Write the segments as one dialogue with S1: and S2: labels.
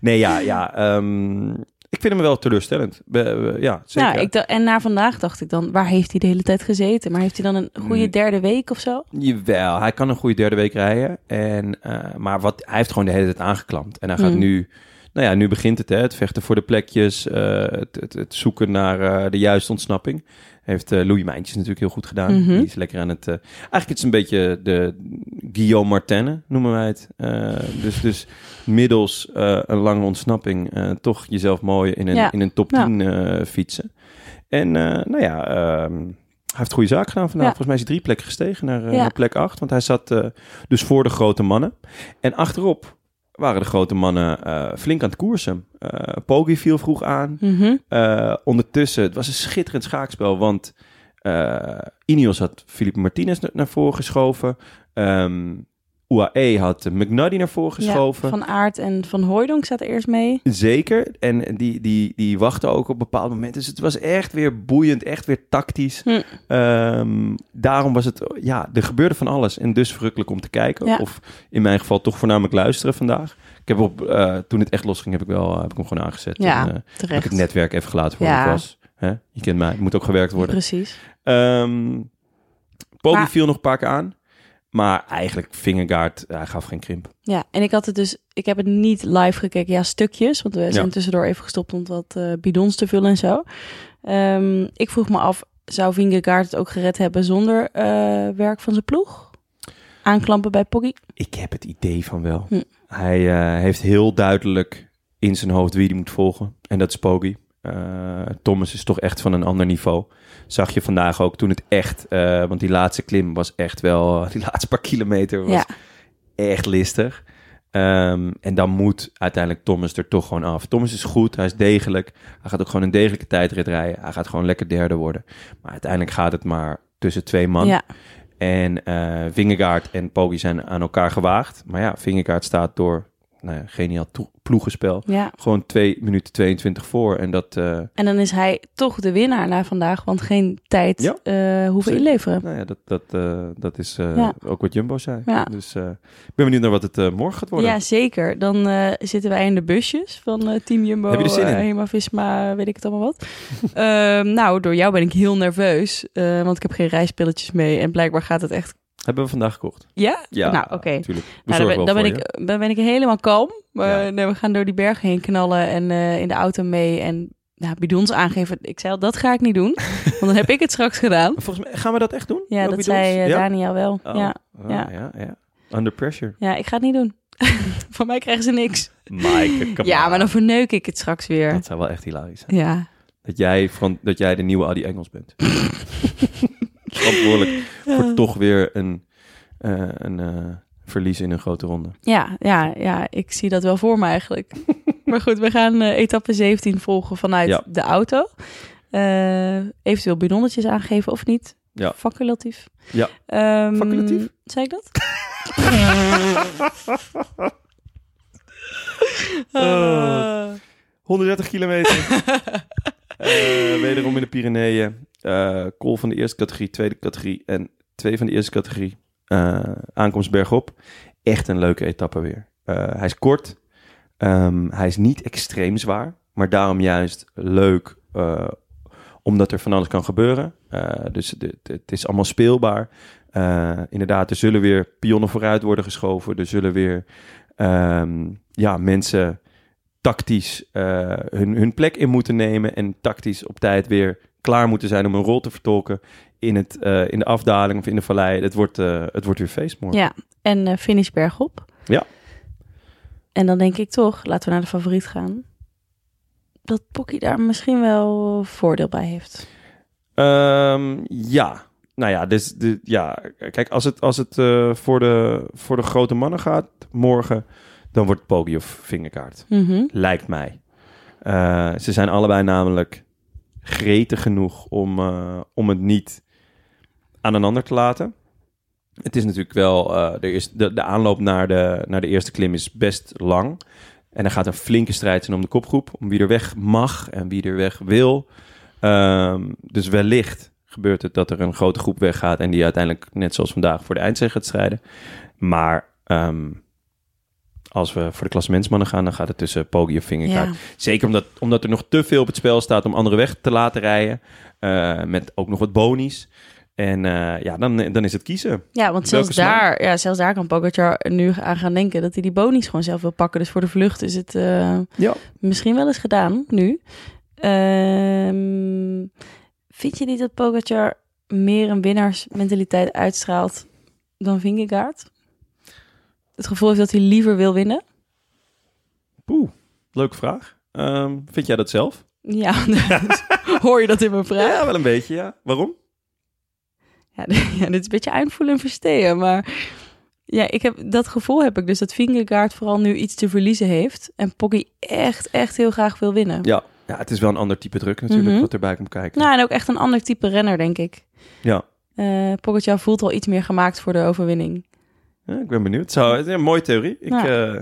S1: Nee, ja, ja. ehm, ik vind hem wel teleurstellend. Be- eh, ja, zeker.
S2: Nou, ik dacht- en na vandaag dacht ik dan, waar heeft hij de hele tijd gezeten? Maar heeft hij dan een goede
S1: Mm.
S2: derde week of zo?
S1: Jawel, hij kan een goede derde week rijden. En, eh, maar wat, hij heeft gewoon de hele tijd aangeklampt. En hij gaat
S2: Mm.
S1: nu... Nou ja, nu begint het, hè. Het vechten voor de plekjes. eh, het, het, het zoeken naar eh, de juiste ontsnapping. Heeft eh, Louis Mijntjes natuurlijk heel goed gedaan.
S2: Mhm.
S1: Die is lekker aan het... eh, eigenlijk het is een beetje de Guillaume Martenne, noemen wij het. Eh, dus, dus middels eh, een lange ontsnapping... eh, toch jezelf mooi in een,
S2: Ja.
S1: in een top
S2: Ja.
S1: 10 eh, fietsen. En eh, nou ja... ehm, hij heeft goede zaak gedaan vandaag.
S2: Ja.
S1: Volgens mij is hij drie plekken gestegen naar, eh,
S2: Ja.
S1: naar plek acht. Want hij zat eh, dus voor de grote mannen. En achterop waren de grote mannen eh, flink aan het koersen. Eh Poggi viel vroeg aan.
S2: Mhm.
S1: Eh, ondertussen, het was een schitterend schaakspel. Want eh Ineos had Felipe Martinez na- naar voren geschoven. Ehm UAE had McNuddy naar voren geschoven.
S2: Ja, van Aert en Van Hooijdonk zaten eerst mee.
S1: Zeker. En die, die, die wachten ook op bepaalde momenten. Dus het was echt weer boeiend, echt weer tactisch.
S2: Hm.
S1: Ehm, daarom was het, ja, er gebeurde van alles. En dus verrukkelijk om te kijken.
S2: Ja.
S1: Of in mijn geval toch voornamelijk luisteren vandaag. Ik heb op, eh, toen het echt losging, heb ik, wel, heb ik hem gewoon aangezet.
S2: Ja,
S1: En, eh, heb
S2: Terecht.
S1: ik het netwerk even gelaten voor
S2: Ja.
S1: wat het was. Hè? Je kent mij, het moet ook gewerkt worden.
S2: Precies.
S1: Ehm Poggi
S2: Maar-
S1: viel nog een paar keer aan. Maar eigenlijk, Vingegaard, hij gaf geen krimp.
S2: Ja, en ik had het dus, ik heb het niet live gekeken. Ja, stukjes, want we zijn
S1: Ja.
S2: tussendoor even gestopt om wat eh, bidons te vullen en zo. Ehm, ik vroeg me af, zou Vingegaard het ook gered hebben zonder eh, werk van zijn ploeg? Aanklampen bij Poggy?
S1: Ik heb het idee van wel.
S2: Hm.
S1: Hij eh, heeft heel duidelijk in zijn hoofd wie hij moet volgen. En dat is Poggi. Eh, Thomas is toch echt van een ander niveau. Zag je vandaag ook toen het echt... eh, want die laatste klim was echt wel... Die laatste paar kilometer was
S2: Ja.
S1: echt listig. Ehm, en dan moet uiteindelijk Thomas er toch gewoon af. Thomas is goed, hij is degelijk. Hij gaat ook gewoon een degelijke tijdrit rijden. Hij gaat gewoon lekker derde worden. Maar uiteindelijk gaat het maar tussen twee man.
S2: Ja,
S1: En eh Vingegaard en Poggi zijn aan elkaar gewaagd. Maar ja, Vingegaard staat door nou ja, geniaal to- ploegenspel.
S2: ja.
S1: Gewoon 2 minuten 22 voor. En dat, eh,
S2: En dan is hij toch de winnaar na vandaag, want geen tijd
S1: Ja.
S2: eh, hoeven
S1: Zeker.
S2: inleveren.
S1: nou ja, dat, dat, eh, dat is eh,
S2: Ja.
S1: ook wat Jumbo zei.
S2: Ja.
S1: Dus eh, ik ben benieuwd naar wat het eh, morgen gaat worden.
S2: Ja, zeker. Dan eh, zitten wij in de busjes van eh, Team Jumbo,
S1: Heb je er zin in?
S2: eh, Hema Visma, weet ik het allemaal wat. Ehm, nou, door jou ben ik heel nerveus, eh, want ik heb geen reispilletjes mee en blijkbaar gaat het echt...
S1: Hebben we vandaag gekocht.
S2: Ja?
S1: Ja,
S2: Nou, oké.
S1: natuurlijk. We
S2: Nou, dan,
S1: zorgen
S2: ben,
S1: wel
S2: dan, ben
S1: voor je.
S2: ik, dan ben ik helemaal kalm. Maar
S1: Ja.
S2: nee, we gaan door die bergen heen knallen en eh, in de auto mee en nou, bidons aangeven. Ik zei al, dat ga ik niet doen, want dan heb ik het straks gedaan.
S1: Volgens mij gaan we dat echt doen?
S2: Ja,
S1: Ook
S2: dat
S1: bedoeld?
S2: zei eh,
S1: Ja?
S2: Daniel wel.
S1: Oh,
S2: Ja.
S1: ah,
S2: ja.
S1: ja. ja, Under pressure.
S2: ja, ik ga het niet doen. Van mij krijgen ze niks.
S1: Maaike, come
S2: ja,
S1: on.
S2: maar dan verneuk ik het straks weer.
S1: Dat zou wel echt hilarisch zijn.
S2: Ja.
S1: Dat jij, van, dat jij de nieuwe Adi Engels bent. Verantwoordelijk
S2: Oh.
S1: voor toch weer een, eh, een eh, verlies in een grote ronde.
S2: Ja, ja, ja, ik zie dat wel voor me eigenlijk. maar goed, we gaan eh, etappe 17 volgen vanuit
S1: Ja.
S2: de auto. Eh, eventueel bidonnetjes aangeven of niet.
S1: Ja.
S2: Faculatief.
S1: Ja.
S2: Ehm,
S1: Faculatief?
S2: Zei ik dat? Ah.
S1: Oh. 130 kilometer. Eh, wederom in de Pyreneeën. Eh call van de eerste categorie, tweede categorie en twee van de eerste categorie. Eh, aankomst bergop. Echt een leuke etappe weer. eh, hij is kort. Ehm, hij is niet extreem zwaar. Maar daarom juist leuk. eh, omdat er van alles kan gebeuren. Eh, dus de- de- het is allemaal speelbaar. Eh, inderdaad, er zullen weer pionnen vooruit worden geschoven. Er zullen weer ehm, ja, mensen tactisch eh, hun, hun plek in moeten nemen. En tactisch op tijd weer klaar moeten zijn om hun rol te vertolken. In, het, eh, in de afdaling of in de vallei. Het wordt, eh, het wordt weer feest morgen.
S2: Ja, en eh finish bergop.
S1: Ja.
S2: En dan denk ik toch, laten we naar de favoriet gaan. Dat Pocky daar misschien wel voordeel bij heeft.
S1: Ehm, ja. Nou ja, dus de, ja. kijk, als het, als het eh, voor, de, voor de grote mannen gaat morgen, dan wordt het Poggi of Vingerkaart.
S2: Mhm.
S1: Lijkt mij. Eh, ze zijn allebei namelijk gretig genoeg om, eh, om het niet aan een ander te laten. Het is natuurlijk wel, eh, er is de, de aanloop naar de, naar de eerste klim is best lang. En er gaat een flinke strijd zijn om de kopgroep, om wie er weg mag en wie er weg wil. Ehm, dus wellicht gebeurt het dat er een grote groep weggaat en die uiteindelijk, net zoals vandaag, voor de eindzege gaat strijden. Maar ehm, als we voor de klassementsmannen gaan, dan gaat het tussen Poggi of Vingerkaart.
S2: Ja.
S1: Zeker omdat, omdat er nog te veel op het spel staat om anderen weg te laten rijden. Eh, met ook nog wat bonies. En eh, ja, dan, dan is het kiezen.
S2: ja, want zelfs
S1: Welke smaak?
S2: daar, ja, zelfs daar kan Pogacar nu aan gaan denken dat hij die bonies gewoon zelf wil pakken. Dus voor de vlucht is het eh,
S1: Ja.
S2: misschien wel eens gedaan nu. Ehm, vind je niet dat Pogacar meer een winnaarsmentaliteit uitstraalt dan Vingegaard? Het gevoel heeft dat hij liever wil winnen?
S1: Poeh, leuke vraag. Ehm, vind jij dat zelf?
S2: Ja, dus hoor je dat in mijn vraag?
S1: Ja, wel een beetje, ja. Waarom?
S2: Ja, d- ja, dit is een beetje aanvoelen en verstehen, maar... Ja, ik heb, dat gevoel heb ik dus, dat Vingegaard vooral nu iets te verliezen heeft. En Poggy echt, echt heel graag wil winnen.
S1: Ja. ja, het is wel een ander type druk natuurlijk
S2: Mhm.
S1: wat erbij komt kijken.
S2: Nou, en ook echt een ander type renner, denk ik.
S1: Ja.
S2: Eh Pogacar voelt al iets meer gemaakt voor de overwinning.
S1: Ja, ik ben benieuwd. Zou, het is een mooie theorie. Ik,
S2: Ja.
S1: eh,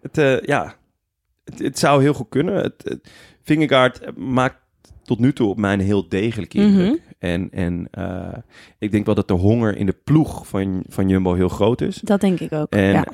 S1: het, eh, ja, het, het zou heel goed kunnen. Het, het, Vingegaard maakt tot nu toe op mij een heel degelijke indruk.
S2: Mhm.
S1: En, en eh, ik denk wel dat de honger in de ploeg van, van Jumbo heel groot is.
S2: Dat denk ik ook,
S1: En
S2: ja.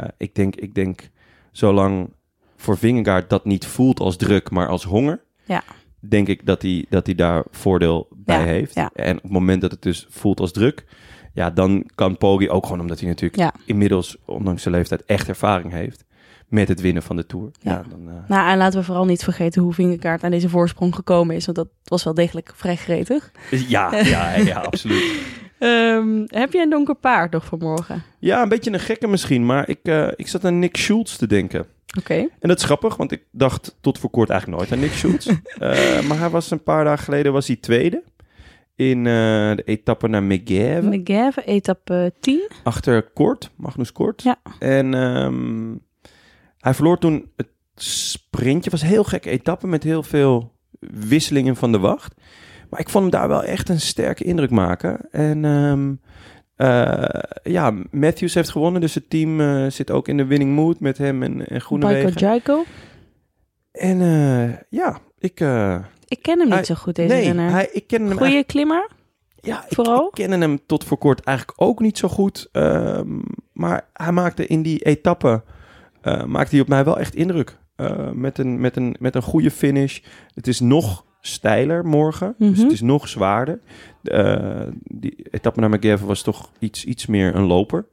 S1: eh, ik, denk, ik denk, zolang voor Vingegaard dat niet voelt als druk, maar als honger...
S2: Ja.
S1: denk ik dat hij, dat hij daar voordeel bij
S2: Ja,
S1: heeft.
S2: ja.
S1: En op het moment dat het dus voelt als druk... ja, dan kan Poggi ook gewoon, omdat hij natuurlijk
S2: Ja.
S1: inmiddels... ondanks zijn leeftijd echt ervaring heeft... met het winnen van de Tour. Ja,
S2: Ja.
S1: dan, eh,
S2: Nou, en laten we vooral niet vergeten hoe Vingegaard aan deze voorsprong gekomen is. Want dat was wel degelijk vrij gretig.
S1: ja, ja, ja, absoluut.
S2: Ehm, heb je een donker paard nog vanmorgen?
S1: Ja, een beetje een gekke misschien, maar ik, eh, ik zat aan Nick Schultz te denken.
S2: Oké.
S1: En dat is grappig, want ik dacht tot voor kort eigenlijk nooit aan Nick Schultz. Eh, maar hij was een paar dagen geleden was hij tweede in eh, de etappe naar Megève.
S2: McGavin, etappe 10.
S1: achter Kort, Magnus Kort.
S2: Ja.
S1: En ehm, hij verloor toen het sprintje. was een heel gekke etappe met heel veel wisselingen van de wacht. Maar ik vond hem daar wel echt een sterke indruk maken. En ehm, eh, ja, Matthews heeft gewonnen, dus het team eh, zit ook in de winning mood met hem en, en
S2: Michael
S1: Groenewegen.
S2: Jaiko.
S1: En eh, ja, ik... eh,
S2: Ik ken hem niet
S1: Hij-
S2: zo goed, deze
S1: nee,
S2: renner.
S1: hij, ik ken hem eigenlijk-
S2: Goeie klimmer.
S1: ja, ik,
S2: vooral?
S1: ik kende hem tot voor kort eigenlijk ook niet zo goed. ehm, maar hij maakte in die etappe eh, maakte hij op mij wel echt indruk. Eh, met, een, met, een, met een goede finish. Het is nog steiler morgen. Dus
S2: Mhm.
S1: het is nog zwaarder. Eh, die etappe naar McGavin was toch iets, iets meer een loper.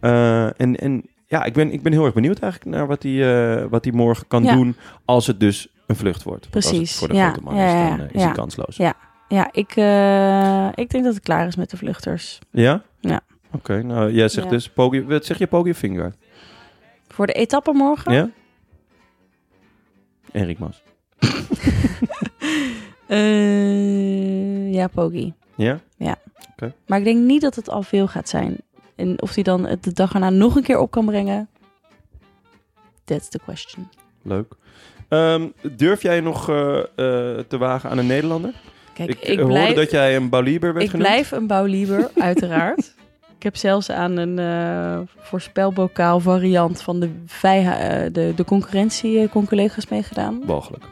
S1: Eh, en, en ja, ik ben, ik ben heel erg benieuwd eigenlijk naar wat hij eh, wat hij morgen kan
S2: Ja.
S1: doen. Als het dus een vlucht wordt. Want Als
S2: Precies,
S1: het voor de
S2: ja,
S1: grote man
S2: ja,
S1: is,
S2: ja,
S1: dan eh, is
S2: ja.
S1: hij kansloos.
S2: Ja. Ja, ik, eh, ik denk dat het klaar is met de vluchters.
S1: Ja?
S2: Ja.
S1: Oké, nou jij zegt
S2: Ja.
S1: dus Pogi, wat zeg je Pogi Finger?
S2: Voor de etappe morgen?
S1: Ja? Erik Mas.
S2: Eh, ja, Pogi.
S1: Ja?
S2: Maar ik denk niet dat het al veel gaat zijn. En of hij dan het de dag erna nog een keer op kan brengen. That's the question.
S1: Leuk. Ehm, durf jij nog eh, eh, te wagen aan een Nederlander?
S2: Kijk, ik,
S1: eh,
S2: blijf,
S1: hoorde dat jij een Balieber werd
S2: ik
S1: genoemd.
S2: blijf een bouwlieber, uiteraard. Ik heb zelfs aan een eh, voorspelbokaal variant van de, vijha- eh, de, de concurrentie eh, con-collega's meegedaan.
S1: Walgelijk.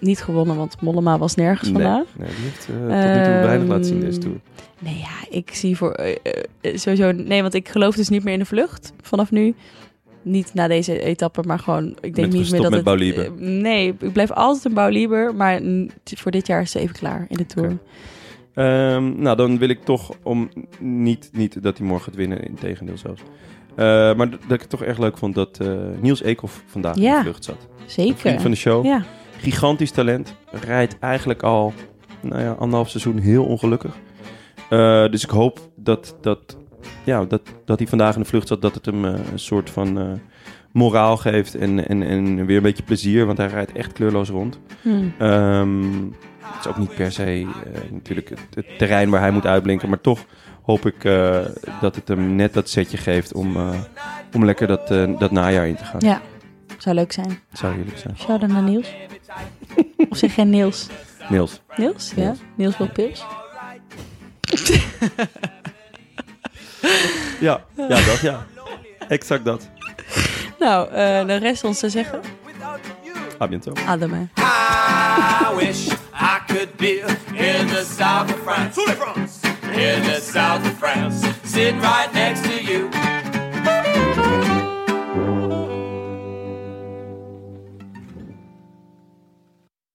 S2: Niet gewonnen, want Mollema was nergens
S1: Nee,
S2: vandaag.
S1: nee, die heeft eh, tot nu toe weinig
S2: Ehm,
S1: laten zien deze tour.
S2: Nee, ja, ik zie voor eh, eh, sowieso. Nee, want ik geloof dus niet meer in de vlucht vanaf nu. Niet na deze etappe, maar gewoon... Ik denk
S1: Bent
S2: niet meer
S1: gestopt
S2: dat
S1: met
S2: het...
S1: Baulieber?
S2: eh, Nee, ik blijf altijd een Baulieber. Maar n- voor dit jaar is ze even klaar in de Tour.
S1: Oké. Ehm, nou, dan wil ik toch om niet, niet dat hij morgen het winnen, in tegendeel zelfs. Eh, maar d- dat ik het toch echt leuk vond dat eh, Niels Eekhoff vandaag in
S2: Ja.
S1: de vlucht zat. Een
S2: Zeker.
S1: vriend van de show.
S2: Ja,
S1: Gigantisch talent. Rijdt eigenlijk al nou ja, anderhalf seizoen heel ongelukkig. Eh, dus ik hoop dat, dat, ja, dat, dat hij vandaag in de vlucht zat. Dat het hem eh, een soort van eh, moraal geeft. En, en, en weer een beetje plezier. Want hij rijdt echt kleurloos rond.
S2: Hm.
S1: Ehm, het is ook niet per se eh, natuurlijk het, het terrein waar hij moet uitblinken. Maar toch hoop ik eh, dat het hem net dat setje geeft om, eh, om lekker dat, eh, dat najaar in te gaan.
S2: ja. zou leuk zijn.
S1: Zou jullie zijn.
S2: Shout-out naar Niels. of zeg jij Niels?
S1: Niels.
S2: Niels, ja.
S1: Niels.
S2: Niels wil pils.
S1: Ja, ja dat ja. Exact dat.
S2: Nou, eh dan rest ons te zeggen.
S1: A bientôt.
S2: Ademen.
S3: I wish I could be in the south of France. In the south of France. Sitting right next